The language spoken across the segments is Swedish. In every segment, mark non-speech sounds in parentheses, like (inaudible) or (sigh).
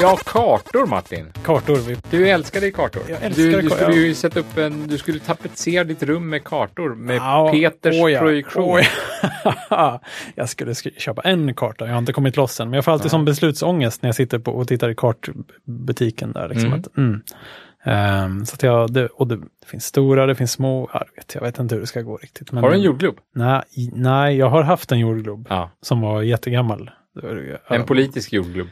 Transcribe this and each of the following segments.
Ja, kartor Martin. Kartor. Vi... Du älskade ju kartor. Jag älskade du, du kar- skulle ja. ju sätta upp en, du skulle tapetsera ditt rum med kartor med Ja, Peters åh ja, projektion. åh ja. (laughs) jag skulle sk- köpa en karta, jag har inte kommit loss än, men jag får alltid som beslutsångest när jag sitter på och tittar i kartbutiken där. Liksom, Mm. att, mm. Ehm, så att jag, det, och det, finns stora, det finns små, ja, du vet, jag vet inte hur det ska gå riktigt. Men, Har du en jordglob? Nej, nej, jag har haft en jordglob Ja. som var jättegammal. En politisk (laughs) jordglob.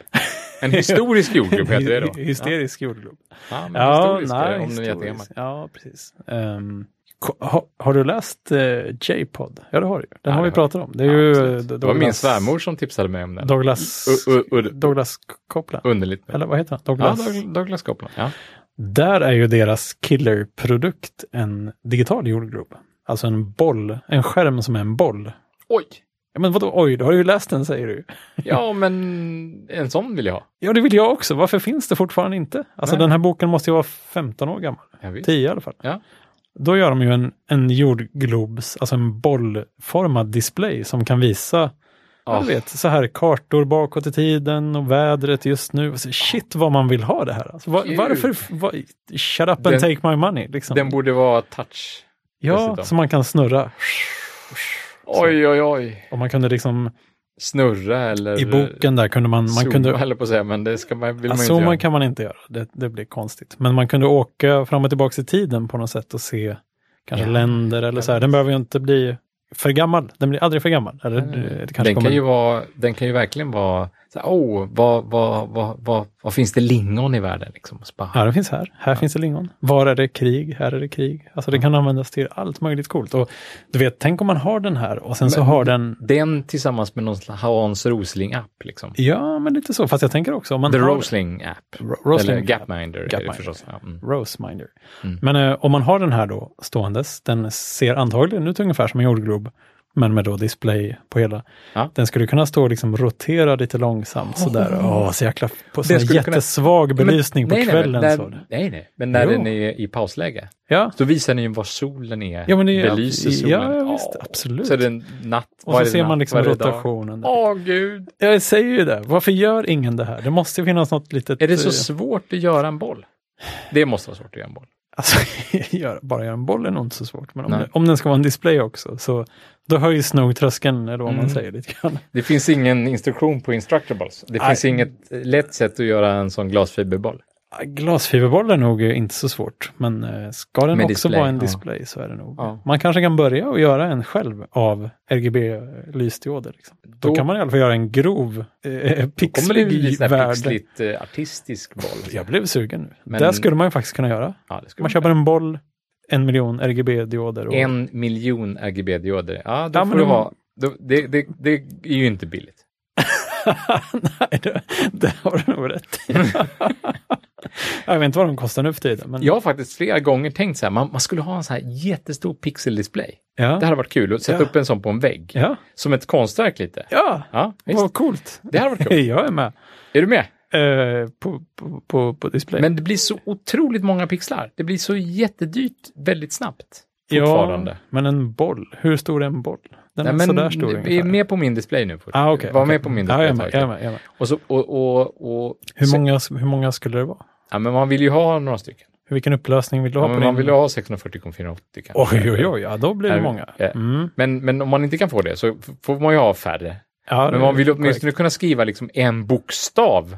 En historisk jordglob heter det då. Hy- (laughs) Hysterisk jordglob. Ja, men Ja, historisk är det, om den nej, är historisk. jättegammal. Ja, precis. Ehm, ko- ha, har du läst eh, J-pod? Ja, det har du. ju. Den Ja, har det vi har pratat om. Det är Ja, ju absolut. eh, det var min Douglas- svärmor som tipsade mig om den. Douglas, U- u- u- Douglas Copeland. Underligt. Eller vad heter han? Ja, Douglas. Doug- Douglas Copeland. Ja. Där är ju deras killerprodukt en digital jordglob. Alltså en boll, en skärm som är en boll. Oj! Ja, men vadå, oj, då har du ju läst den säger du. Ja, men en sån vill jag ha. Ja, det vill jag också. Varför finns det fortfarande inte? Alltså Nej. den här boken måste ju vara 15 år gammal. Jag vet. 10 i alla fall. Ja. Då gör de ju en, en jordglobs, alltså en bollformad display som kan visa ja, Ah. du vet, så här kartor bakåt i tiden och vädret just nu. Alltså, shit vad man vill ha det här. Alltså, va- Gud. varför? Va, shut up and Den- take my money. Liksom. Den borde vara touch. ja, dessutom. så man kan snurra. Oj, oj, oj. Och man kunde liksom, Snurra eller... i boken där kunde man, man zooma, kunde, höll jag på att säga, men det ska man, vill ja, man ju zooman inte göra. kan man inte göra, det, det blir konstigt. Men man kunde åka fram och tillbaka i tiden på något sätt och se kanske Ja, länder eller så här. Den behöver ju inte bli för gammal, den blir aldrig för gammal. Eller, det kanske den, kommer- kan ju vara, den kan ju verkligen vara, så här, oh, vad, vad, vad, vad, vad finns det lingon i världen? Liksom? Så bara, Ja, den finns här. Här finns det lingon. Var är det krig? Här är det krig. Alltså den kan användas till allt möjligt coolt. Och du vet, tänk om man har den här och sen så Men- har den... Den tillsammans med någon slags Hans Rosling-app. Liksom. Ja, men lite så. Fast jag tänker också om man The har... Rosling-app. Ro- Eller Rosling. Gapminder. är det Gapminder. förstås. Ja, mm. Roseminder. Mm. Men eh, om man har den här då ståendes, den ser antagligen ut ungefär som en jordglob, men med då display på hela. Ja. Den skulle kunna stå och liksom rotera lite långsamt sådär. Åh, så jäkla... På sån skulle kunna- jättesvag belysning nej, på nej, men kvällen. när, så. var det. Nej, nej, men när Jo. den är i pausläge. Ja. Då visar den ju var solen är. Ja, men det är- Belyser solen. Ja, ja, visst, Åh. absolut. Så är det en natt. Och vad är så det ser natt? man liksom Vad är det dag? rotationen. där. Åh, gud. Jag säger ju det. Varför gör ingen det här? Det måste ju finnas något litet... Är det så eh, svårt att göra en boll? Det måste vara svårt att göra en boll. Alltså, (laughs) gör, bara göra en boll är nog inte så svårt. Men om, Nej. det, om den ska vara en display också, så då höjs nog tröskeln, eller vad man Mm. säger lite grann. Det finns ingen instruktion på Instructables. Det Nej. finns inget eh, lätt sätt att göra en sån glasfiberboll. Ah, Glasfiberboll är nog eh, inte så svårt, men eh, ska den Med också display, vara en ja. display så är det nog. Ja. Man kanske kan börja och göra en själv av RGB-lysdioder. Liksom. Då, Då- kan man i alla fall göra en grov, eh, Kommer det bli pixlig sån här värld. pixligt eh, artistisk boll? Jag blev sugen nu. Men- Där skulle man ju faktiskt kunna göra. Ja, det skulle Man vara. köper en boll, en miljon RGB-dioder. Och... En miljon RGB-dioder. Ja, då får Ja, men du om- ha. Då, det, det, det är ju inte billigt. (laughs) Nej, det, det har du nog rätt (laughs) i. Jag vet inte vad de kostar nu för tiden. Men, Jag har faktiskt flera gånger tänkt så här, man, man skulle ha en sån här jättestor pixeldisplay. Det ja. hade varit kul att sätta Ja. upp en sån på en vägg. Ja. Som ett konstverk lite. ja, Ja, visst. vad coolt. Det hade varit kul. Jag är med Är du med? eh, på, på, på, på display. Men det blir så otroligt många pixlar. Det blir så jättedyrt väldigt snabbt. ja, Fortfarande. men en boll. Hur stor är en boll? Den Nej, är men sådär stor vi är ungefär. med på min display nu. Fort. Ah, okay, Var med på min ja, display. jag är med, ett jag är tag. med, jag är med. Och så, och, och, och, Hur, så- många, hur många skulle det vara? Ja, men man vill ju ha några stycken. Vilken upplösning vill du ha Ja, på men din... man vill ju ha 640 gånger 480 kanske. Oj, oj, oj, ja, då blir det Nej, eh. många. ja. Mm. Men, men om man inte kan få det så f- får man ju ha färre. Ja, Men det är man vill ju åtminstone korrekt. kunna skriva liksom en bokstav.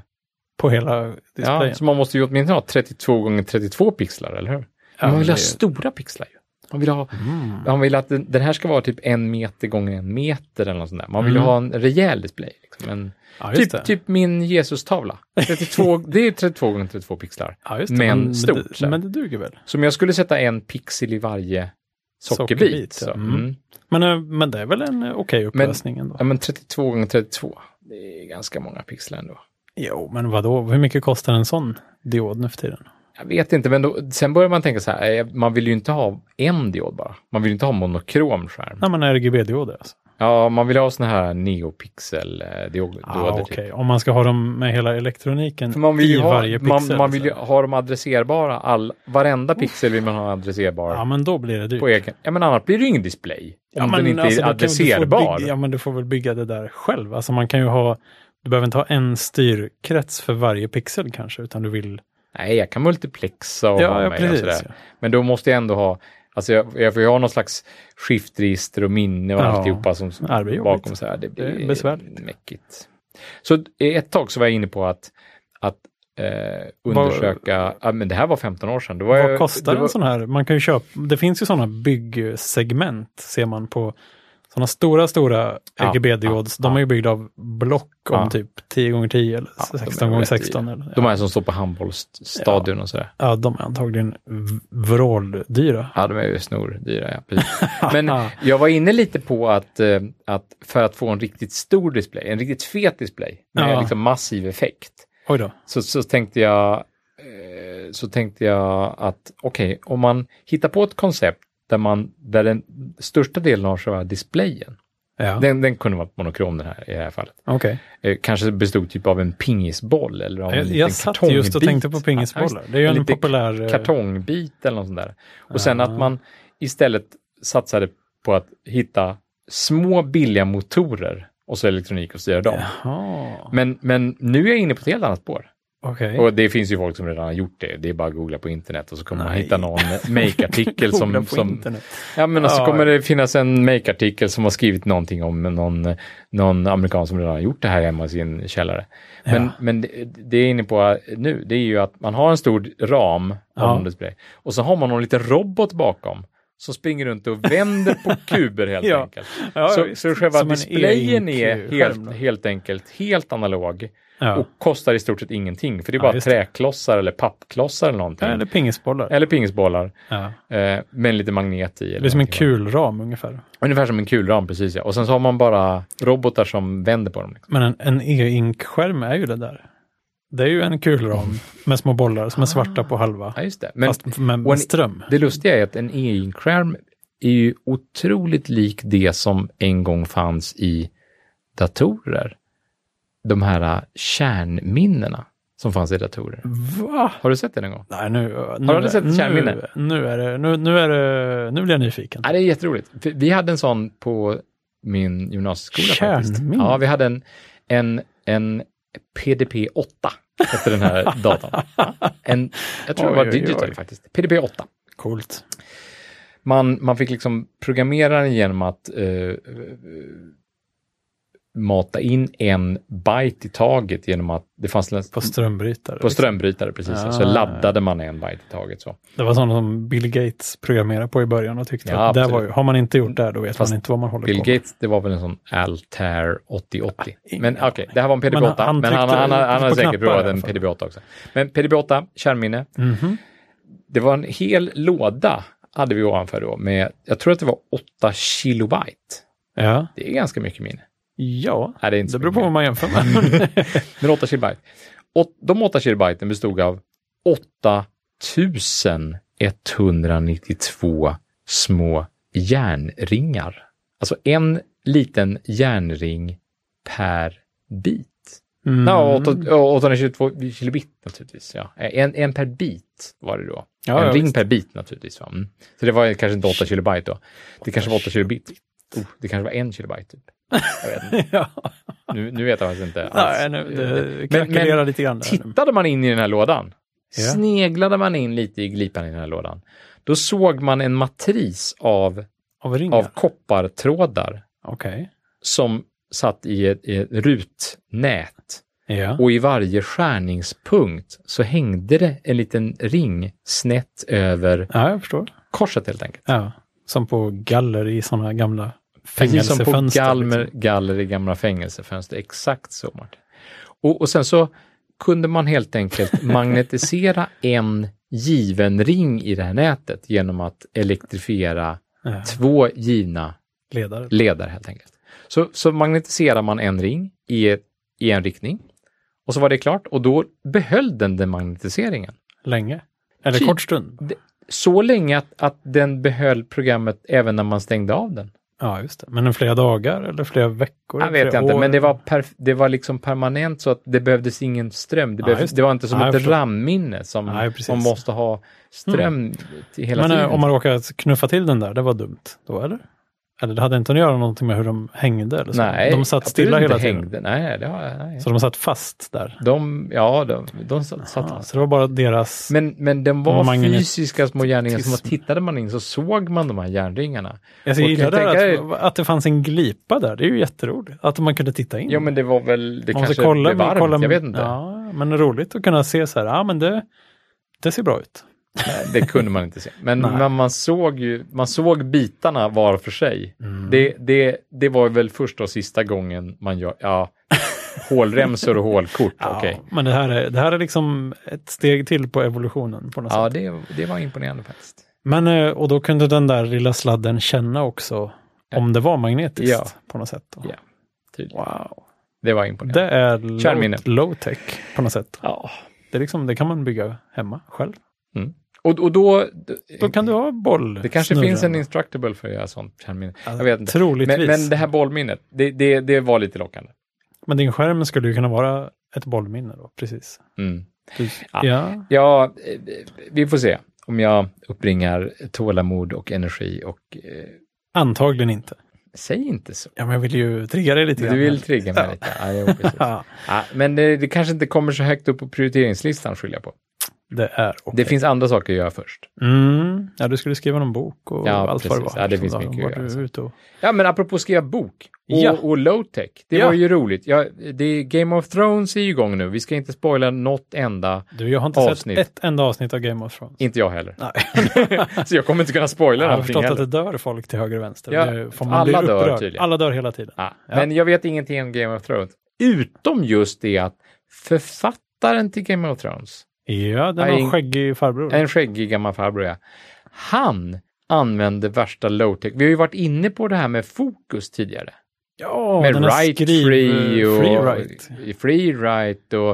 På hela Ja, displayen. så man måste ju åtminstone ha 32 gånger 32 pixlar, eller hur? Ja, Men man vill det ha är- stora pixlar ju. Man vill ha Mm. Man vill att den, den här ska vara typ en meter gånger en meter eller något sånt där. Man vill Mm. ha en rejäl display. Liksom. En, Ja, just det. typ, typ min Jesus-tavla. (laughs) 32, det är 32 gånger 32 pixlar. Ja, just men det, stort, så Men, här. det duger väl. Så om jag skulle sätta en pixel i varje sockerbit. Sockerbit, ja. så, Mm. mm. Men, eh, men det är väl en eh, okej upplösning ändå? Ja, men 32 gånger 32. Det är ganska många pixlar ändå. Jo, men vadå? Hur mycket kostar en sån diod nu för tiden? Jag vet inte, men då, sen börjar man tänka så här, eh, man vill ju inte ha en diod bara. Man vill ju inte ha monokrom skärm. Nej, men RGB-dioder alltså. Ja, man vill ha sådana här eh, neopixel-dioder. Ah, okej. Om man ska ha dem med hela elektroniken För man vill i ju, ha, varje pixel. liksom. man, man vill ju så. ha dem adresserbara. All, varenda pixel vill man ha adresserbar Ja, men då blir det dyrt. på egen. Ja, men annars blir det ju ingen display. Om ja, men den inte alltså, är då kan- du får adresserbar. Bygga, ja, men du får väl bygga det där själv. Alltså man kan ju ha Du behöver inte ha en styrkrets för varje pixel kanske, utan du vill... Nej, jag kan multiplexa och ha med och sådär. Men då måste jag ändå ha, alltså jag, jag får ju ha någon slags skiftregister och minne och Ja. alltihopa som Ja, det blir jobbigt. bakom. Så här. Det Det är blir besvärligt. mäckigt. Så ett tag så var jag inne på att, att eh, undersöka, ja, men det här var 15 år sedan. Då var Vad jag, kostar Eh, det var, en sån här? Man kan ju köpa, det finns ju sådana byggsegment ser man på sådana stora, stora Ja, RGB-diods. ja, de ja. är ju byggda av block om Ja. typ 10 gånger 10 eller Ja, de är 16 gånger rätt i 16 eller, De här som står på handbollsstadion och sådär. Ja, de är antagligen v- vråldyra. Ja, de är ju snordyra. Ja, (laughs) precis. Men jag var inne lite på att, eh, att för att få en riktigt stor display, en riktigt fet display med Ja. liksom massiv effekt, Oj då. så, så tänkte jag eh, så tänkte jag att okej, om man hittar på ett koncept där, man, där den största delen av själva displayen, Ja, den, den kunde vara monokrom den här, i det här fallet, okej. eh, kanske bestod typ av en pingisboll eller av en Jag, liten jag satt kartongbit. just och tänkte på Ja, just pingisbollar. Det är ju en Lite populär... eh, kartongbit eller något sånt där. Och sen Ja. att man istället satsade på att hitta små billiga motorer och så elektronik och styra dem. Jaha, Men, men nu är jag inne på ett helt annat spår. okej. Och det finns ju folk som redan har gjort det. Det är bara att googla på internet och så kommer man Nej. hitta någon make-artikel (laughs) Googla som... på som internet. ja, men alltså Ja. kommer det finnas en make-artikel som har skrivit någonting om någon, någon amerikan som redan har gjort det här hemma i sin källare. Men, Ja. men det, det är inne på eh, nu, det är ju att man har en stor ram av Ja. någon display och så har man någon liten robot bakom som springer runt och vänder på kuber helt (laughs) Ja. enkelt. Ja, så, visst. så själva Som en displayen är EIQ-skärm helt, då. helt enkelt helt analog Ja. och kostar i stort sett ingenting, för det är Ja, bara just det. träklossar eller pappklossar eller någonting. Eller pingisbollar. Eller pingisbollar Ja. eh, med lite magnet i. eller Det är som en någonting. kulram ungefär. Ungefär som en kulram, precis ja. Och sen så har man bara robotar som vänder på dem. Liksom. Men en, en e-ink-skärm är ju det där. Det är ju en kulram med små bollar som är svarta på halva. Ja, just det. Men fast med, och en- med ström. det lustiga är att en e-ink-skärm är ju otroligt lik det som en gång fanns i datorer. De här eh, kärnminnena som fanns i datorer. Va? Har du sett det någon gång? Nej, nu, eh, nu, Har du sett ett kärnminne? nu, nu är det, nu, nu är det, nu blir jag nyfiken. Ja, det är jätteroligt. För Vi hade en sån på min gymnasieskola faktiskt. Kärnminne. Ja, vi hade en, en, en PDP-8 hette den här (laughs) datorn. En, jag tror det Oj, var oj, digital oj. faktiskt. PDP-8. Coolt. Man, man fick liksom programmera den genom att eh, eh, mata in en byte i taget genom att det fanns en- På strömbrytare. på strömbrytare precis, Ah. så laddade man en byte i taget. Så. Det var sådana som Bill Gates programmerade på i början och tyckte Ja, att det absolut. var ju, har man inte gjort det här, då vet Fast man inte vad man håller Bill på med. Gates, det var väl en sån Altair 8080. ingen men okej, aning. det här var en PDB-8, Men men han han, han, han, tryckte har- han på har säkert knappar i provat alla en fall. PDB-8 också. Men PDB-8, kärnminne, Mhm. det var en hel låda hade vi ovanför då med, jag tror att det var 8 kilobyte. Ja. Det är ganska mycket minne. ja, Nej, det är inte så det beror på mycket vad minne. man jämför (laughs) med. Mm. Men 8 kilobyte. Och de 8 kilobyten bestod av 8192 små järnringar. Alltså en liten järnring per bit. Mm. Ja, åtta- ja, 822 kilobit naturligtvis. Ja. En, en per bit var det då. Ja, en ja, ring visst. per bit naturligtvis. Va? Mm. Så det var kanske inte 8 kilobyte då. Det kanske var 8 kilobit. Oh, det kanske var en kilobyte. (laughs) Typ. Jag vet inte. ja. Nu, nu vet jag faktiskt inte. alls. Nej, nu, det Men- krackelerar men lite grann. Där. nu. Tittade man in i den här lådan, Ja. sneglade man in lite i glipan i den här lådan, då såg man en matris av, Av ringar? av koppartrådar Okej. som satt i ett, i ett rutnät. Ja. Och i varje skärningspunkt så hängde det en liten ring snett över ja, jag förstår. korset helt enkelt. Ja. Som på galler i sådana gamla Precis som på fängelsefönster, galmer, liksom. galler i gamla fängelsefönster. Exakt så, Martin. Och, och sen så kunde man helt (laughs) enkelt magnetisera en given ring i det här nätet genom att elektrifiera liksom. ja, två givna ledare. ledare helt enkelt. Så, så magnetiserar man en ring i, ett- i en riktning och så var det klart och då behöll den den magnetiseringen. Länge. Eller Typ. kort stund. så länge att, att den behöll programmet även när man stängde av den. Ja, just det. Men en flera dagar eller flera veckor? Jag vet flera jag inte, år? men det var, perf- det var liksom permanent så att det behövdes ingen ström. Det, Ja, behövdes, just det. det var inte som Ja, jag ett förstår. RAM-minne som Nej, precis. man måste ha ström till hela Men, eh, tiden. om man råkar knuffa till den där, det var dumt då, eller? Eller det hade inte att göra någonting med hur de hängde? Eller så. Nej, de satt absolut stilla inte hela tiden. hängde. Nej, det har jag. Nej. Så de satt fast där. De, ja, de, de satt. satt Ja, så det var bara deras... Men, men den De var har magnetism. fysiska små järnringar, som att tittade man in så såg man de här järnringarna. jag och gillar jag det här tänker- att, att det fanns en glipa där. Det är ju jätteroligt. Att man kunde titta in. Ja, men det var väl, det Man kanske blev men varmt, jag vet inte. Ja, men det är roligt att kunna se så här, ja men det, det ser bra ut. Nej, Det kunde man inte se. Men, Nej. men man såg ju, man såg bitarna var för sig. Mm. Det, det, det var väl första och sista gången man gör, ja, (laughs) hålremsor och hålkort, Ja, okej. Men det här, är, det här är liksom ett steg till på evolutionen på något Ja, sätt. det, det var imponerande faktiskt. Men, eh, och då kunde den där lilla sladden känna också om det var magnetiskt Ja. på något sätt. Då. Ja, tydligt. Wow. Det var imponerande. Det är Kärnminne. low, low tech på något sätt. Ja. Det, är liksom, det kan man bygga hemma själv. Och, och då, Då kan du ha boll. det kanske finns en instructable för att göra sånt kärnminne. Jag vet inte. Troligtvis. Men, Men, men det här bollminnet, det, det, det var lite lockande. din skärm skulle ju kunna vara ett bollminne då, precis. Mm. Du, Ja. ja. Ja, eh, vi får se om jag uppbringar tålamod och energi och eh, Antagligen inte. säg inte så. Ja, men jag vill ju trigga dig lite Du grann. vill trigga mig Ja. lite. Ja, jo, precis. (laughs) Ja, ja, men det, det kanske inte kommer så högt upp på prioriteringslistan, skyller jag på. det är okej. Det finns andra saker att göra först. Mm. Ja, du skulle skriva någon bok och Ja, allt vad det precis. var. Ja, det liksom, finns då. mycket att Var göra, du alltså. ute och... Ja, men apropå skriva bok och, Ja. och low-tech, det Ja. var ju roligt. Ja, det är Game of Thrones är ju igång nu, vi ska inte spoila något enda, Du, jag har inte Avsnitt. sett ett enda avsnitt av Game of Thrones. inte jag heller. (laughs) Nej. (laughs) Så jag kommer inte kunna spoila Jag har någonting förstått att heller. det dör folk till höger och vänster. Ja, Det får man bli alla dör upprörd. tydligen. Alla dör hela tiden. Ja, Ja. men jag vet ingenting om Game of Thrones, utom just det att författaren till Game of Thrones, Ja, den Nej, har ing- skäggig farbror. en skäggig gammal farbror, ja, han använde värsta low-tech. Vi har ju varit inne på det här med fokus tidigare. Ja, med den right skriv... free och free right. free right och,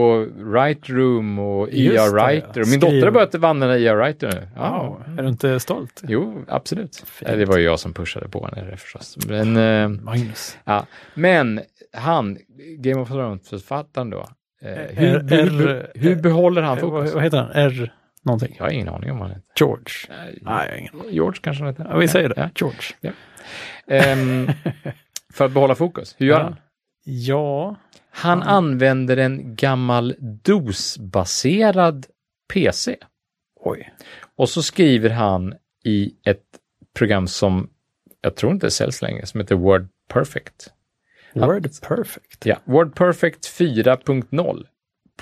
och right room och Just IA det, ja. writer. Min Skriv- dotter har börjat använda IA writer nu. Ja. Wow. Är du inte stolt? Jo, absolut. Eh, Det var ju jag som pushade på henne det förstås. Men, eh, Magnus. ja. Men han, Game of Thrones-författaren då, eh, hur, R- R- hur, hur behåller han Eh, Vad, fokus? vad heter han? R någonting? Jag har ingen aning om vad han heter. George? Nej, Nej, jag har ingen. George kanske han heter. Ja, vi säger det. Ja. George. (laughs) Ehm, för att behålla fokus, hur gör han? Ja, Han använder en gammal DOS-baserad PC. oj. Och så skriver han i ett program som jag tror inte säljs längre, som heter Word Perfect. Word perfect. Ja, Word Perfect 4.0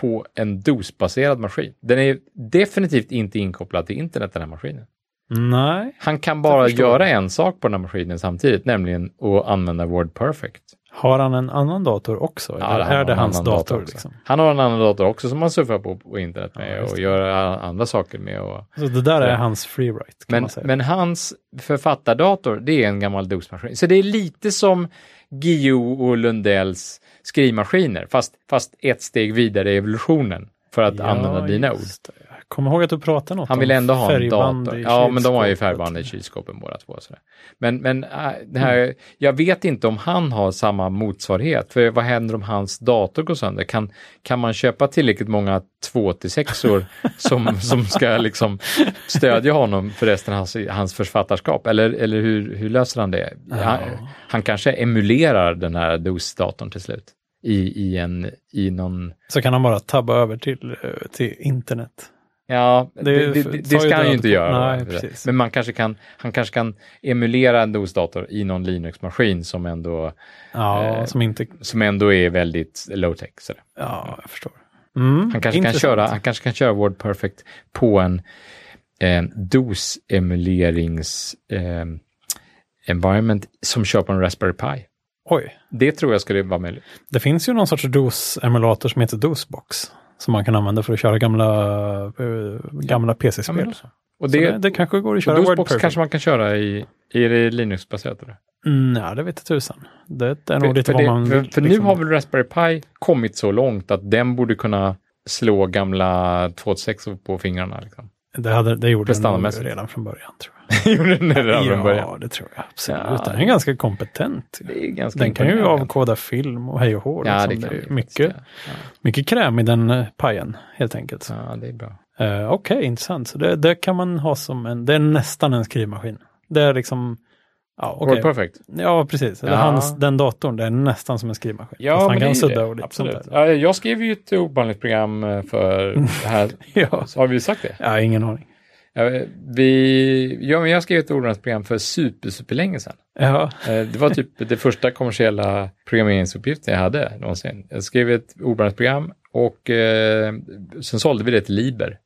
på en DOS-baserad maskin. Den är definitivt inte inkopplad till internet, den här maskinen. Nej. Han kan bara förstår göra en sak på den här maskinen samtidigt, nämligen att använda Word Perfect. Har han en annan dator också? Ja, eller han har är det en hans annan dator? också. liksom? Han har en annan dator också som han surfar på på internet med Ja, just och gör a- andra saker med. Och... Så Alltså, det där är hans freeride kan Men, man säga. men hans författardator, det är en gammal DOS-maskin. Så det är lite som Guillou och Lundells skrivmaskiner, fast, fast ett steg vidare i evolutionen för att använda dina ord. just det. Jag kommer ihåg att du pratade något Han om vill ändå ha en färgband dator. i Ja, men de har ju kylskåpet. färgband i kylskåpen båda två. och Sådär. Men, men äh, det här, jag vet inte om han har samma motsvarighet. För vad händer om hans dator går sönder? Kan, kan man köpa tillräckligt många 2-6or som, som ska liksom stödja honom för resten av hans, hans författarskap? Eller, eller hur, hur löser han det? Han, han kanske emulerar den här DOS-datorn till slut i, i, en, i någon Så kan han bara tabba över till, eh, till internet. Ja, det, är ju- det, det, tar ju ska han död ju inte på- göra. nej, precis. men man kanske kan, han kanske kan emulera en DOS-dator i någon Linux-maskin som ändå, Ja, Eh, som inte... som ändå är väldigt low-tech. sådär. Ja, jag förstår. Mm, Han, kanske kan intressant. köra- han kanske kan köra Word Perfect på en, en DOS-emulerings eh, environment som kör på en Raspberry Pi. Oj, Det tror jag skulle vara möjligt. det finns ju någon sorts DOS-emulator som heter DOSbox. Som man kan använda för att köra gamla, eh, gamla Ja, men PC-spel. då så. Och Så det, det, det kanske går att köra och Word DOSBox Perfect. kanske man kan köra i, i det Linux-baserat. eller? Mm, ja, det vet jag tusan. Det är nog lite för vad det- man... för, för nu liksom- har väl Raspberry Pi kommit så långt att den borde kunna slå gamla 286 på fingrarna. Liksom. (laughs) Det, hade, det gjorde den nog Prestandamässigt. redan från början. tror jag. Gjorde den det redan från början? Ja, det tror jag. Absolut. Ja. Den är ganska kompetent. Det är ganska Den kan ju imponerande. avkoda film och hej och hå. Ja, liksom. det kan Det är det ju mycket, faktiskt, mycket kräm i den eh, pajen, helt enkelt. Ja, Ja, det är bra. Eh, Okej, intressant. Så det, det kan man ha som en... Det är nästan en skrivmaskin. Det är liksom... Ja, Word okej. Perfect. Ja, precis. Eller Ja. hans, den datorn, det är nästan som en skrivmaskin. Fast men han det är kan ju sudda det. och lite sånt Absolut. där. Ja, jag skrev ju ett ovanligt program eh, (laughs) för det här. Ja. Har vi sagt det? ja, ingen aning. Ja, eh, vi, ja, men jag skrev ett ovanligt program för super, super länge sedan. Ja, Eh, Det var typ det första kommersiella programmeringsuppgiften jag hade någonsin. Jag skrev ett oblandat program och eh, sen sålde vi det till Liber.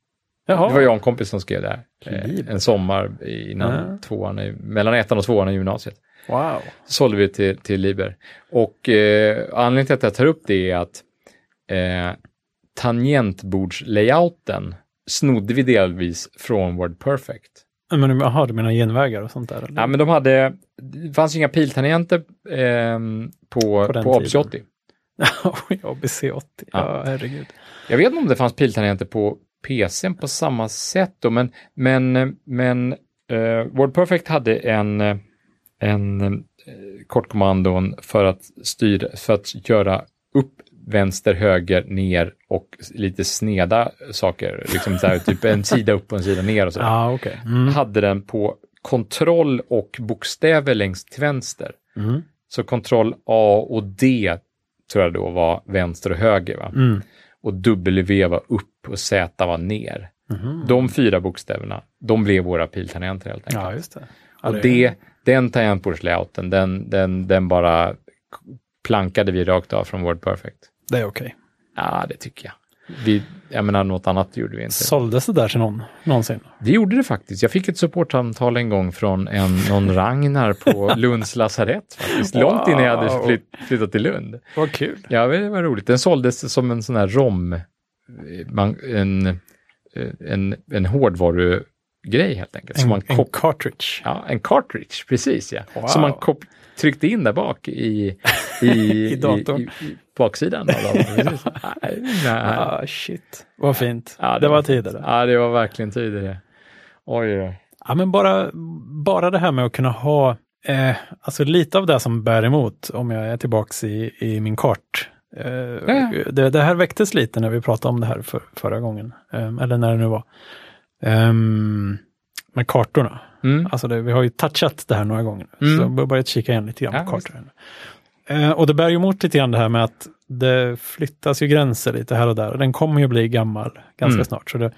jaha. Det var jag och en kompis som skrev det här. eh, Ah. Liber? En sommar innan Ja. tvåan, i- mellan ettan och tvåan i gymnasiet. Wow. Så sålde vi det till, till Liber. Och eh, anledningen till att jag tar upp det är att eh, tangentbordslayouten snodde vi delvis från WordPerfect. Men du- jaha, du menar genvägar och sånt där? Eller? Ja, men de hade, det fanns ju inga piltangenter ehm, på, På den på ABC tiden. 80. (laughs) Oj, ABC80. Ja, herregud. Jag vet inte om det fanns piltangenter på PCn på samma sätt då, men, men, men eh, WordPerfect hade en, eh, en eh, kortkommandon för att styra, för att göra upp, vänster, höger, ner och lite sneda saker. Liksom så här, typ en sida upp och en sida ner och så. Ja, okej. Mm. Hade den på kontroll och bokstäver längst till vänster. Mm. Så kontroll A och D tror jag då var vänster och höger. Va? Mm. Och W var upp och Z var ner. mm. De fyra bokstäverna, de blev våra piltangenter helt enkelt. Ja, just det. Ja, och det, den tangentbordslayouten, den, den, den bara plankade vi rakt av från WordPerfect. det är okej. Ja, det tycker jag. Vi, jag menar, något annat gjorde vi inte. Såldes det där till någon någonsin? Det gjorde det faktiskt. Jag fick ett supportsamtal en gång från en, någon Ragnar (laughs) på Lunds lasarett. Faktiskt. Långt innan jag hade Wow. flytt, flyttat till Lund. Vad kul. Ja, det var roligt. Den såldes som en sån här rom, eh, man, en, eh, en, en hårdvarugrej helt enkelt. som En, man en kop- cartridge. ja, en cartridge, precis ja. Wow. Som man kop- tryckte in där bak i, i, (laughs) I datorn. I, i baksidan. Av (laughs) datorn, precis. Nej, nej. Ah, shit. Vad fint. Ja, det, var tider det. Ja, det var verkligen tider det. Oj, oj. Ja, men bara, bara det här med att kunna ha eh, alltså lite av det som bär emot om jag är tillbaks i, i min kart. Eh, ja. det, det här väcktes lite när vi pratade om det här för, förra gången, Ehm, eller när det nu var. Ehm, med kartorna. Mm. Alltså det, vi har ju touchat det här några gånger nu, Mm. så jag har börjat kika igen lite grann Ja, på kartorna. Eh, och det bär ju emot lite grann det här med att det flyttas ju gränser lite här och där och den kommer ju bli gammal ganska Mm. snart. Så det,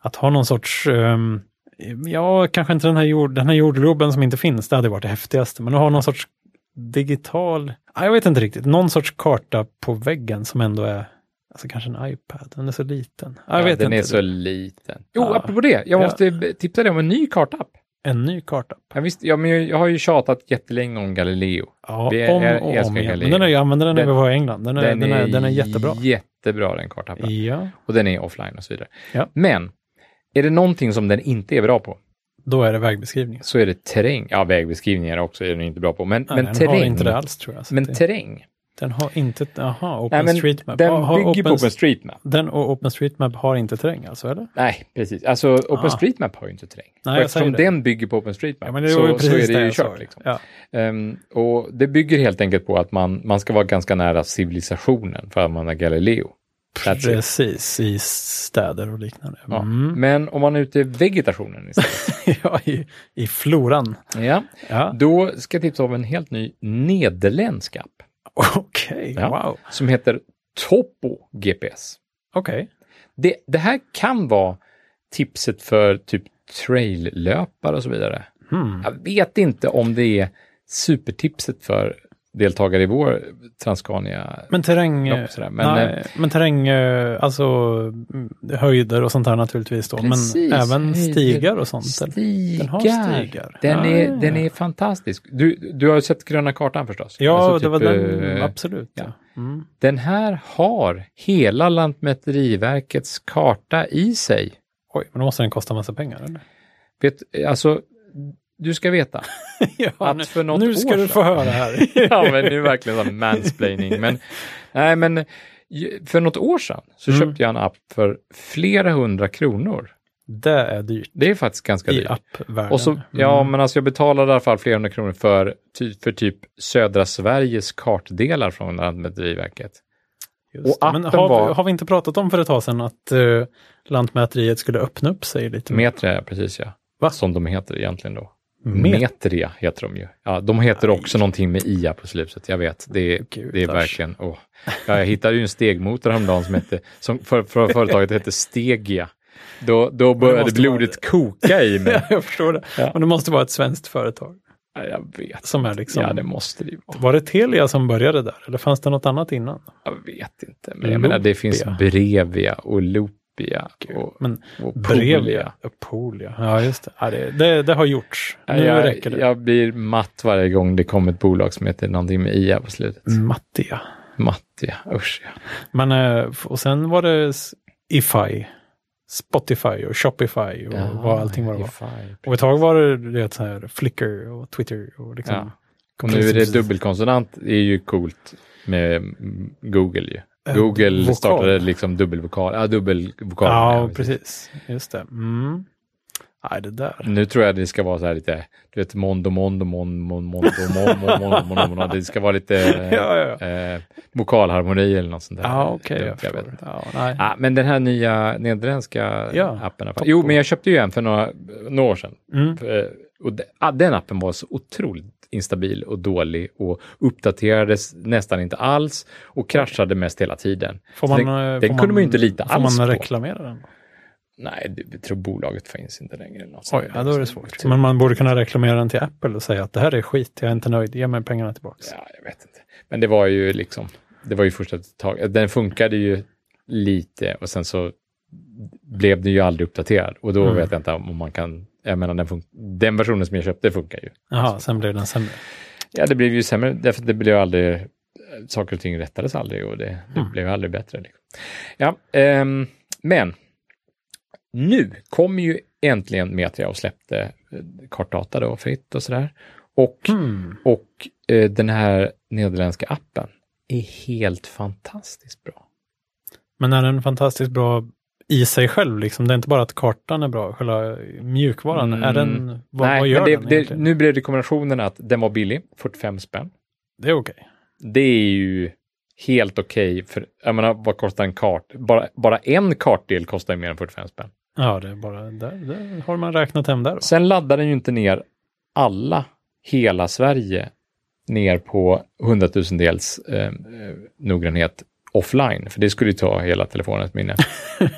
att ha någon sorts, ehm, ja kanske inte den här, jord, den här jordgloben som inte finns, det hade varit det häftigaste, men att ha någon sorts digital, ah, jag vet inte riktigt, någon sorts karta på väggen som ändå är, alltså kanske en iPad, den är så liten. Ah, jag Ja, vet den inte. är så liten. Jo, Ja. apropå det, jag Ja. måste b- tipsa dig om en ny kartapp. En ny karta. Jag, visst, ja, men jag, jag har ju tjatat jättelänge om Galileo. Ja, Det är- om jag och om älskar igen. Galileo. Men den är, jag använde den när Den- vi var i England. Den är, den är, den är jättebra. jättebra den kartappen. Ja, Och den är offline och så vidare. Ja. Men är det någonting som den inte är bra på då är det vägbeskrivningen. så är det terräng. Ja, vägbeskrivningar också är den inte bra på. Men, Nej, men den terräng. har inte det alls tror jag. Så men det, terräng. den har inte, jaha, Nej, men OpenStreetMap. den har bygger på OpenStreetmap. Den och OpenStreetMap har inte terräng alltså, eller? Nej, precis. Alltså OpenStreetmap har ju inte terräng. Ah. jag och eftersom säger det. den bygger på OpenStreetmap Ja, men det var ju så, så precis är det ju jag sa. kört. Liksom. Ja. Ehm, och det bygger helt enkelt på att man, man ska vara ganska nära civilisationen för att man är Galileo. That's it. Precis, i städer och liknande. Ja. Mm. (laughs) Men om man är ute i vegetationen istället, ja, i, i floran. ja, Ja. då ska jag tipsa om en helt ny nederländsk app (laughs) Okej, Ja. wow. som heter Topo GPS. Okej. Det, det här kan vara tipset för typ traillöpare och så vidare. Hmm. Jag vet inte om det är supertipset för deltagare i vår Transcania. Men terräng, Ja, sådär. Men, men, nej, men terräng, eh, alltså mm, höjder och sånt här naturligtvis då, Precis, men även höjder, stigar och sånt. eller? Stigar! Den har stigar. Den, är, Ah. den är fantastisk. Du, du har ju sett gröna kartan förstås? Ja, Alltså det typ, var den, eh, absolut. Ja. Mm. Den här har hela Lantmäteriverkets karta i sig. Oj, men då måste den kosta massa pengar (laughs) eller? Vet, alltså, du ska veta. (laughs) ja, Att nu, för något nu ska år sedan. du få höra här. (laughs) ja, men det är verkligen (laughs) sån mansplaining. Men, nej, men ju- för något år sedan så Mm. köpte jag en app för flera hundra kronor. det är dyrt Det är faktiskt ganska i dyrt. appvärlden. Mm, Och så, ja, men alltså jag betalade i alla fall flera hundra kronor för, ty, för typ södra Sveriges kartdelar från Lantmäteriverket. Just och det. men appen har, var- har vi inte pratat om för ett tag sedan att uh, Lantmäteriet skulle öppna upp sig lite? Metria, precis ja. Mm. Va? Som de heter egentligen då. Med- Metria heter de ju. Ja, de heter också någonting med IA på slutet, jag vet. Det, är- det är Gudars. verkligen... Åh. Ja, jag hittade ju en stegmotor häromdagen som, hette, som för, för företaget hette Stegia. Då, då började måste vara blodet koka i mig. (laughs) jag förstår det. Ja. Men det måste vara ett svenskt företag Ja, jag vet. som är liksom... Ja, det måste det ju vara. Var det Telia som började där eller fanns det något annat innan? Jag vet inte. Men jag menar, det finns Lopia. Brevia och Lopia och, Men och Polia. Brevia. Ja, Polia. Ja, just det. Ja, det, det. Det har gjorts. Nu jag, räcker det. jag blir matt varje gång det kommer ett bolag som heter någonting med IA på slutet. Mm. Mattia. Mattia, usch ja. Men, eh, och sen var det s- Ify, Spotify och Shopify och vad allting var det var. ifall. Och ett tag var det, du vet, så här, Flickr och Twitter och liksom. Ja. Och nu är det dubbelkonsonant, det är ju coolt med mm, Google ju. Eh, Google vokal. startade liksom dubbelvokal, ja dubbelvokal. Ja, precis. Just det. Mm. Nej, det där. Nu tror jag det ska vara så här lite, du vet, mondo, mondo, mon, mon, mondo, mon, mon, mondo, mondo, mondo. Det ska vara lite (laughs) Ja, ja, ja. eh, vokalharmoni eller något sånt där. Ja, okej. Dumt, jag jag vet Ah, förstår. inte. Ja, nej. Ja, men den här nya nederländska Ja. appen. Jo, men jag köpte ju en för några, några år sedan. Mm. Eh, Och de- ah, den appen var så otroligt instabil och dålig och uppdaterades nästan inte alls och kraschade mest hela tiden. Får Så man, den eh, den får kunde man ju inte lita får alls man på. reklamera den? Nej, det, jag tror bolaget finns inte längre. eller något sånt Oj, där. ja, då är det Så svårt. typ- Men man borde kunna reklamera den till Apple och säga att det här är skit, jag är inte nöjd, ge mig pengarna tillbaka. Ja, jag vet inte. Men det var ju liksom, det var ju första taget. Den funkade ju lite och sen så blev den ju aldrig uppdaterad och då Mm. vet jag inte om man kan, jag menar den, fun- den versionen som jag köpte funkar ju. Jaha, sen blev den sämre. Ja, det blev ju sämre, därför att det blev aldrig, saker och ting rättades aldrig och det, det Mm. blev aldrig bättre. Liksom. Ja, ehm, men nu kommer ju äntligen Metria och släppte eh, kartdata då fritt och sådär. Och, Hmm. och eh, den här nederländska appen är helt fantastiskt bra. Men är den fantastiskt bra i sig själv? Liksom? Det är inte bara att kartan är bra, själva mjukvaran. Mm. Är den, vad, Nej, vad men gör det, den det, egentligen? nu blev rekommendationen att den var billig, 45 spänn. Det är okej. det är ju helt okej. för, jag menar, vad kostar en kart? Bara, bara en kartdel kostar ju mer än 45 spänn. Ja, det är bara där, där har man räknat (laughs) hem där. Då. Sen laddar den ju inte ner alla, hela Sverige, ner på hundratusendels eh, eh, noggrannhet offline, för det skulle ju ta hela telefonens minne.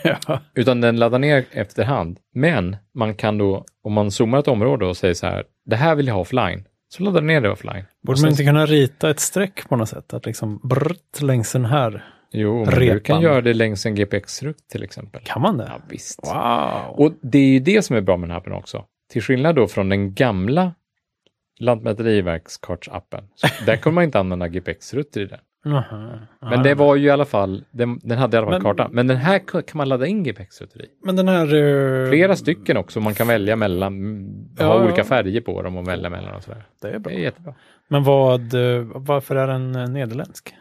ja. Utan den laddar ner efterhand. Men man kan då, om man zoomar ett område och säger så här, det här vill jag ha offline, så laddar den ner det offline. Borde sen- man inte kunna rita ett streck på något sätt? Att liksom brrt längs den här. Jo, men du kan Repan. göra det längs en GPX-rutt till exempel. Kan man det? Ja, visst. Wow! Och det är ju det som är bra med den här appen också. Till skillnad då från den gamla Lantmäteriverkskartsappen. (laughs) Så Där kunde man inte använda GPX-rutter i den. Jaha. Ja, Men det var ju i alla fall, den, den hade i alla fall Men- kartan. Men den här kan kan man ladda in GPX-rutter i. Men den här... eh, Flera stycken också, man kan välja mellan, mm, ha Ja, ja. olika färger på dem och välja mellan och sådär. Det är Det bra. är jättebra. Men vad, eh, varför är den eh, nederländsk?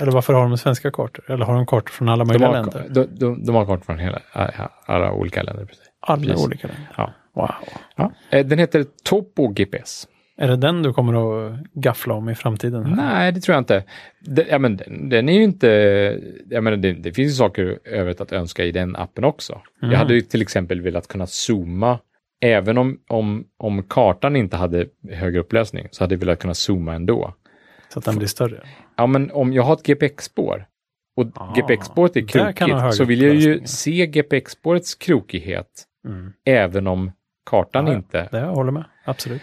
Eller varför har de svenska kartor? Eller har de kartor från alla De möjliga har, länder? de, de, de har kartor från hela, alla olika länder. Precis. Alla precis. olika länder. Ja. Wow! Ja. Eh, Den heter Topo GPS. Är det den du kommer att gaffla om i framtiden? här? Nej, det tror jag inte. Den, ja, men den, den är ju inte... Jag menar, det, det finns ju saker övrigt att önska i den appen också. Mm. Jag hade ju till exempel velat kunna zooma, även om, om, om kartan inte hade hög upplösning, så hade jag velat kunna zooma ändå. Så att den blir större? Ja, men om jag har ett GPX-spår och Ah, GPX-spåret är där kan man ha hög krokigt, så vill jag ju upplösning. se GPX-spårets krokighet, Mm. även om kartan Ja, ja. inte Det jag håller med, absolut.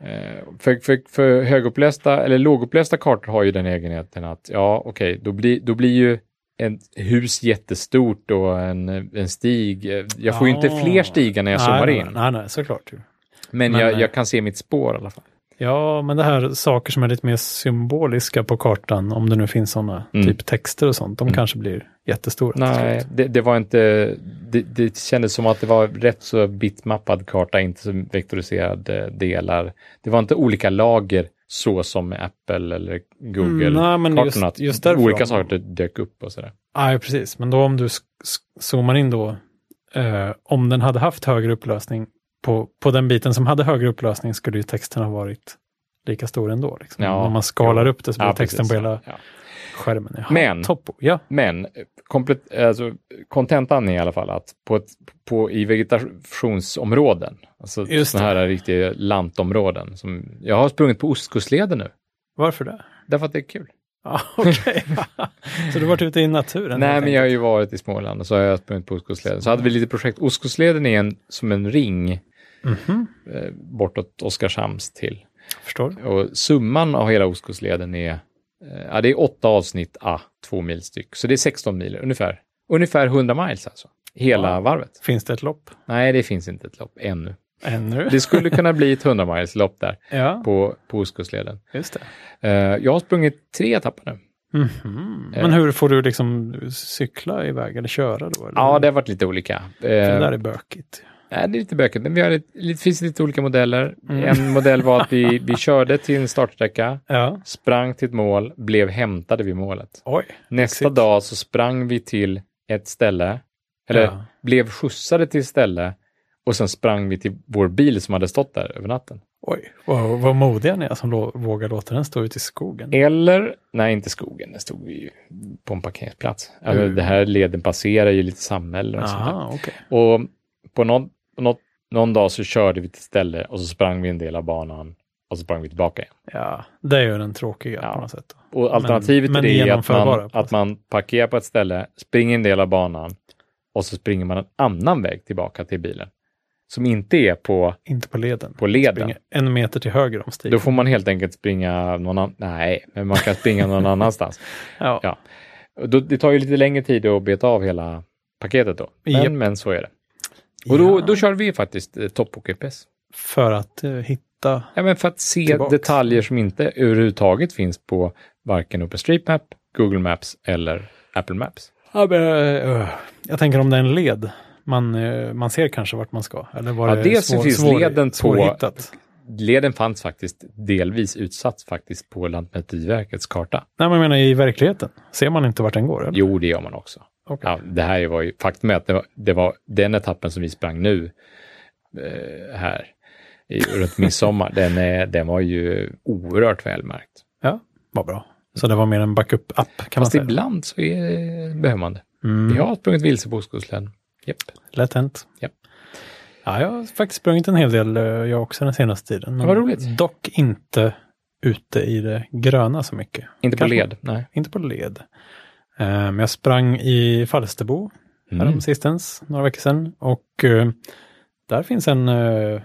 Eh, För, för, för högupplästa eller lågupplästa kartor har ju den egenheten att ja, okej, då, blir, då blir ju ett hus jättestort och en, en stig. eh, Jag får ju inte Ah. fler stigar när jag Nej, zoomar nej, in, Nej, nej, såklart. ju. men, men, jag, eh, jag kan se mitt spår i alla fall. Ja, men det här saker som är lite mer symboliska på kartan, om det nu finns sådana, Mm. typ texter och sånt, de Mm. kanske blir jättestora. till Nej, slut. det, det var inte, det, det kändes som att det var rätt så bitmappad karta, inte så vektoriserade delar. Det var inte olika lager så som med Apple eller Mm, Google-kartorna. nej, men just, just därför. olika då. saker dök upp och sådär. Nej, precis. Men då om du sk- sk- zoomar in då, eh, om den hade haft högre upplösning, på, på den biten som hade högre upplösning skulle ju texten ha varit lika stor ändå. Liksom. Ja, om man skalar upp det så blir Ja, texten precis. på hela Ja. skärmen. Jaha, Men- Topo, ja. Men eh, komplett, alltså, kontentan är i alla fall att på ett, på, i vegetationsområden, alltså Just sådana här riktiga lantområden, som, jag har sprungit på Ostkustleden nu, Varför det? därför att det är kul. Ja, (laughs) okej. så du har varit ute i naturen? Nej, helt men jag har ju varit i Småland och så har jag sprungit på Oskustleden. Så hade vi lite projekt. Oskustleden är en, som en ring enkelt. Mhm, eh, bortåt Oskarshamns till. Förstår. Och summan av hela Oskustleden är, eh, ja, det är åtta avsnitt a två mil styck. Så det är 16 mil ungefär. Ungefär 100 miles alltså. Hela Wow. varvet. Finns det ett lopp? Nej, det finns inte ett lopp ännu. Ännu? Det skulle kunna bli ett 100 miles lopp där Ja, på, på Oskustleden. just det. Eh, jag har sprungit tre etapper Mm. nu. Mhm. Eh. Men hur får du liksom cykla iväg eller köra då? Eller? Ja, det har varit lite olika. För det Eh, där är bökigt. Nej, det är lite bökigt, men vi har lite, lite, finns lite olika modeller. Mm. En modell var att vi, (laughs) vi körde till en startsträcka, Ja. sprang till ett mål, blev hämtade vid målet. Oj. Nästa Exakt. dag så sprang vi till ett ställe, eller Ja. blev skjutsade till ett ställe och sen sprang vi till vår bil som hade stått där över natten. Oj, wow, vad modiga ni är som lå- vågar låta den stå ute i skogen. Eller, nej inte skogen, där stod vi ju på en parkeringsplats. Alltså, Mm. Det här leden passerar ju lite samhällen och sånt där. Aha, okej. Och på någon, på något, någon dag så körde vi till ett ställe och så sprang vi en del av banan och så sprang vi tillbaka igen. Ja, det är ju den tråkiga Ja. på något sätt. Då. Och alternativet men till det är att genomförbara man, på att man parkerar på ett ställe, springer en del av banan och så springer man en annan väg tillbaka till bilen som inte är på, Inte på leden. på leden. Springa en meter till höger om stigen. Då får man helt enkelt springa någon annan, nej, men man kan springa (laughs) någon annanstans. ja. ja. Och Då, det tar ju lite längre tid att beta av hela paketet då, men, Japp. men så är det. Och då, Ja, då kör vi faktiskt eh, toppåker-GPS. För att eh, hitta... Ja, men för att se Tillbaks. detaljer som inte överhuvudtaget finns på varken OpenStreetMap, Google Maps eller Apple Maps. Ja, men, eh, jag tänker om det är en led. Man, eh, man ser kanske vart man ska. Eller var Ja, det dels svår, finns svår, leden på- svårhittat. Leden fanns faktiskt delvis utsatt faktiskt på Lantmäteriverkets karta. Nej, men jag menar i verkligheten. Ser man inte vart den går? Eller? Jo, det gör man också. Okej. Ja, det här var ju, faktum är att det var, det var den etappen som vi sprang nu eh, här i, runt midsommar, (laughs) den, är, den var ju oerhört välmärkt. Ja, vad bra. Så det var mer en backup-app kan Fast man säga. ibland så är, behöver man det. Mm. Jag har sprungit vilse på Ostkustlen. Japp. Lätt hänt. Ja. Ja, jag har faktiskt sprungit en hel del eh, jag också den senaste tiden. Men vad roligt. Dock inte ute i det gröna så mycket. Inte på Kanske- led, nej. Inte på led. Eh, Men jag sprang i Falsterbo Mm. sistens, några veckor sedan. Och eh, där finns en, eh,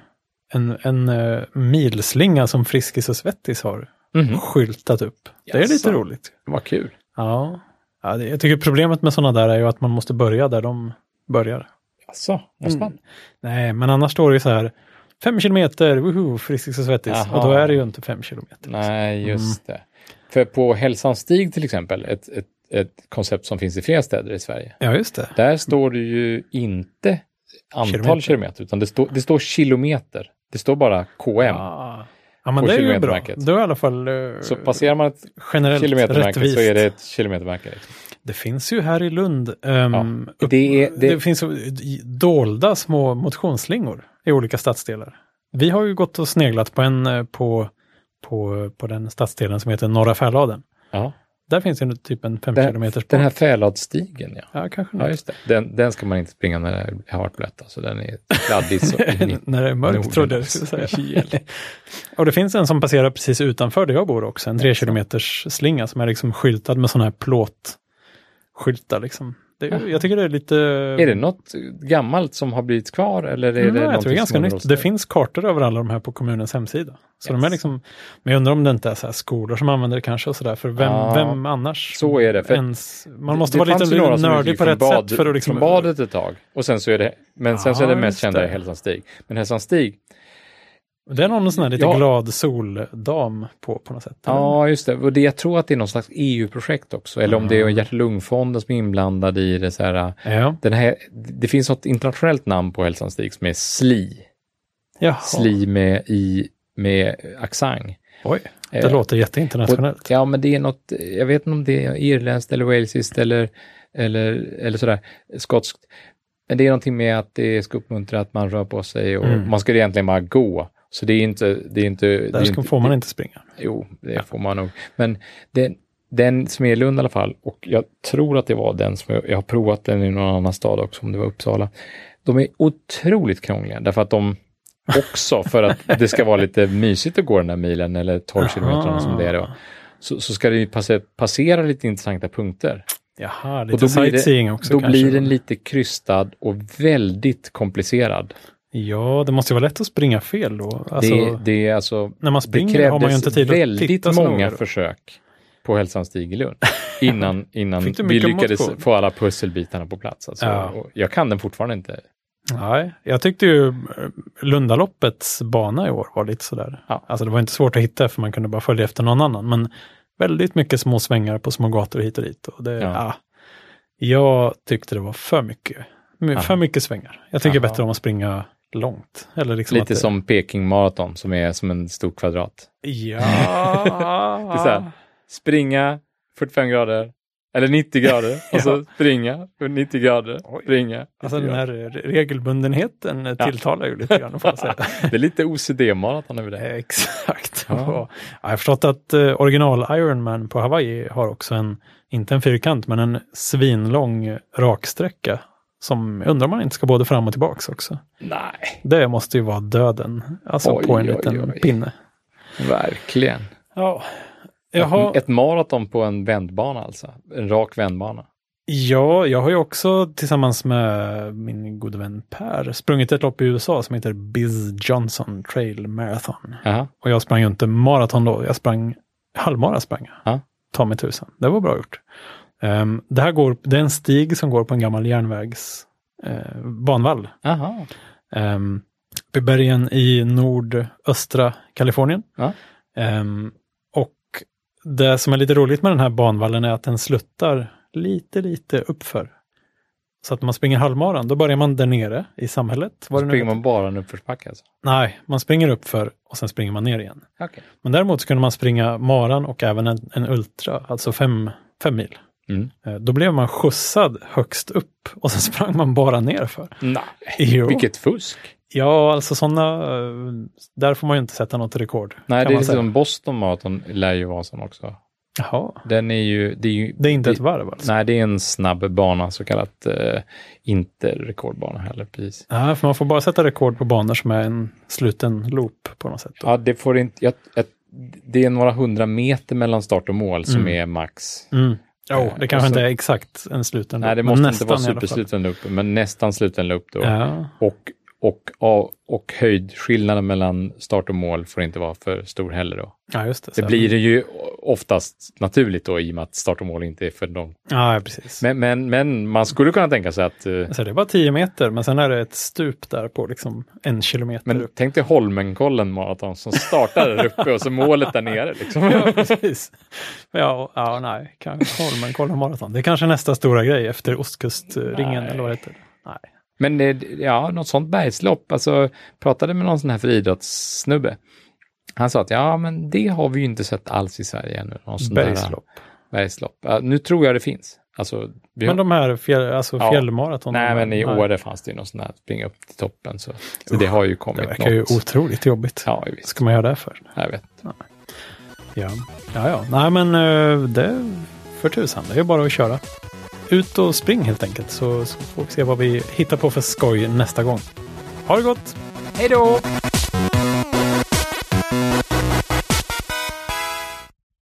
en, en eh, milslinga som Friskis och Svettis har Mhm. skyltat upp. Det är Jaså. lite roligt. Vad kul. Ja, ja det, jag tycker problemet med sådana där är ju att man måste börja där de börjar. Jaså, måste man? Mm. Nej, men annars står det ju så här, fem kilometer, woho, Friskis och Svettis. Jaha. Och då är det ju inte fem kilometer. Nej, just det. För på Hälsans stig till exempel, ett, ett, ett koncept som finns i flera städer i Sverige, Ja, just det. där står det ju inte antal kilometer, Kilometer. utan det, står det står kilometer. Det står bara KM. Ja, Ah. ja men På det är ju bra. kilometermärket. Då är i alla fall eh, Så passerar man ett generellt kilometermärke rättvist. så är det ett kilometermärke. Liksom. Det finns ju här i Lund. ehm, upp, det det, är- det- finns så- i- dolda små motionsslingor i olika stadsdelar. Vi har ju gått och sneglat på en eh, på, på, på den stadsdelen som heter Norra Färladen. Ja. Där finns ju typ en fem Den, kilometers den här Fäladstigen, ja. Ja, kanske Ja, något. just det. Den, den ska man inte springa när det har varit blött. Alltså, den är kladdig så (laughs) in i När det är Norden mörkt trodde jag du också. skulle säga. (laughs) och det finns en som passerar precis utanför där jag bor också, en tre kilometers slinga som är liksom skyltad med sådana här plåtskyltar. Liksom. Det är, ju- jag tycker det är lite... Är det något gammalt som har blivit kvar? Eller är det Nej, Mm, jag tror det någonting är ganska som har nytt. rostat? Det finns kartor över alla de här på kommunens hemsida. Så de är Yes. liksom, men jag undrar om det inte är så här skolor som använder det kanske och sådär, för vem, Ja, vem annars? Så är det. För ens, man måste det vara fanns lite ju några som nördig gick på från rätt bad- sätt för att liksom... Från badet ett tag. Och sen så är det, men sen så är det Ja, mest just kända det. i Hälsans stig. Men Hälsans stig, Det är någon sån här lite Ja. glad soldam på, på något sätt. ja just det. Och det, jag tror att det är någon slags EU-projekt också. Eller om det Ah. är hjärt-lungfonden som är inblandad i det. Så här, äh, Ja. den här, det finns något internationellt namn på Hälsans stig som är SLI. Jaha. SLI med, i, med accent. Oj, det Eh, låter jätteinternationellt. Ja, men det är något, jag vet inte om det är irländskt eller walesiskt eller, eller, eller sådär, skotskt. Men det är någonting med att det ska uppmuntra att man rör på sig och Mm. man ska egentligen bara gå. Så det är inte... Det är inte, det Där är ska, inte får man inte springa. Jo, det får man nog. Men det, den som är i Lund i alla fall, och jag tror att det var den som jag, jag har provat den i någon annan stad också, om det var Uppsala. De är otroligt krångliga, därför att de också, för att det ska vara lite mysigt att gå den där milen, eller 12 Ah. kilometer som det är då, så, så ska det ju passera, passera lite intressanta punkter. Jaha, Och lite då blir, sightseeing det, också då kanske. blir den lite krystad och väldigt komplicerad. Ja, det måste ju vara lätt att springa fel då. Alltså, det, det är alltså när man Det springer har man ju inte krävdes tid att väldigt titta så många noga. då. försök på Hälsans stig i (laughs) Lund innan, innan Fick du vi mycket lyckades motion? få alla pusselbitarna på plats. Alltså, Ja. Och Jag kan den fortfarande inte. Nej, jag tyckte ju eh, Lundaloppets bana i år var lite sådär. Ja. Alltså det var inte svårt att hitta för man kunde bara följa efter någon annan. Men väldigt mycket små svängar på små gator hit och dit. Och det, Ja. ja. Jag tyckte det var för mycket. My- För Aha. mycket svängar. Jag tycker Aha. bättre om att springa långt. Eller liksom att Lite det, som Peking Marathon som är som en stor kvadrat. Ja. (laughs) Det är så här, springa 45 grader, eller 90 (laughs) grader, och så springa 90 grader, Oj. springa. 90 Alltså den grader. här re- regelbundenheten eh, Ja. tilltalar ju lite grann. Får jag säga. Det är lite OCD-maraton över det. Eh, (laughs) Exakt. Ja. Och, ja, jag har förstått att eh, original Ironman på Hawaii har också en, inte en fyrkant, men en svinlång raksträcka. Som jag undrar om man inte ska både fram och tillbaks också. Nej, Det måste ju vara döden. Alltså Oj, på en oj, liten oj. pinne. verkligen. Ja. Jaha, Ett maraton på en vändbana alltså. En rak vändbana. ja, jag har ju också tillsammans med min gode vän Per sprungit ett lopp i USA som heter Biz Johnson Trail Marathon. Jaha. Och jag sprang ju inte maraton då, jag sprang halvmara sprang jag. Ja. Ta mig tusan, det var bra gjort. Ehm, det här går, det är en stig som går på en gammal järnvägs eh, banvall. Aha. Um, uppe i bergen i nordöstra Kalifornien. Ja. Ehm, och det som är lite roligt med den här banvallen är att den sluttar lite, lite uppför. Så att när man springer halvmaran, då börjar man där nere i samhället. vad det nu Springer heter. man bara en uppförsbacke alltså? Nej, man springer uppför och sen springer man ner igen. Okej. Men däremot så kunde man springa maran och även en, en ultra, alltså fem, fem mil. Mm. Eh, Då blev man skjutsad högst upp och sen (laughs) sprang man bara nerför. Nej, Jo. vilket fusk. Ja, alltså sådana, där får man ju inte sätta något rekord. Nej, kan det är man säga. liksom Boston Marathon lär ju vara sån också. Jaha, Den är ju, det är ju, det är inte ett varv alltså? nej det är en snabb bana, så kallat eh, inte rekordbana heller precis. Nej. för man får bara sätta rekord på banor som är en sluten loop på något sätt. då. Ja, det får inte, jag, jag, det är några hundra meter mellan start och mål som Mm. är max. Mm. Jo, Eh, det och kanske så- inte är exakt en sluten Nej, det men måste inte nästan vara i alla fall. supersluten loop, men nästan sluten loop då. Ja. Och, och, och, och höjdskillnaden mellan start och mål får inte vara för stor heller då. ja, just det. Det så. blir det ju oftast naturligt då i och med att start och mål inte är för långt. Ja, precis. Men, men, men man skulle kunna tänka sig att... eh, Så Alltså, det är bara 10 meter, men sen är det ett stup där på liksom en kilometer Men upp. tänk dig Holmenkollen maraton som startar där uppe och så målet där nere. Liksom. (laughs) Ja, precis. Ja, ja nej, kanske Holmenkollen maraton. Det är kanske nästa stora grej efter ostkustringen Nej. eller vad det heter. Nej. Men eh, ja, något sånt bergslopp. Alltså, pratade med någon sån här friidrottssnubbe. Han sa att ja, men det har vi ju inte sett alls i Sverige ännu. Någon sån Bergslopp. Där, bergslopp. Ja, nu tror jag det finns. Alltså, vi har, Men de här fjäll, alltså Ja. fjällmaraton. nej, de- men i nej, Åre fanns det ju någon sån här springa upp till toppen. Så, så det har ju Det kommit verkar ju något. otroligt jobbigt. Ja, visst. Ska man göra det för? Jag vet. Ja, ja, ja. Nej, men eh, det för tusan. Det är ju bara att köra. Ut och spring helt enkelt så, så får vi se vad vi hittar på för skoj nästa gång. Ha det gott! Hej då!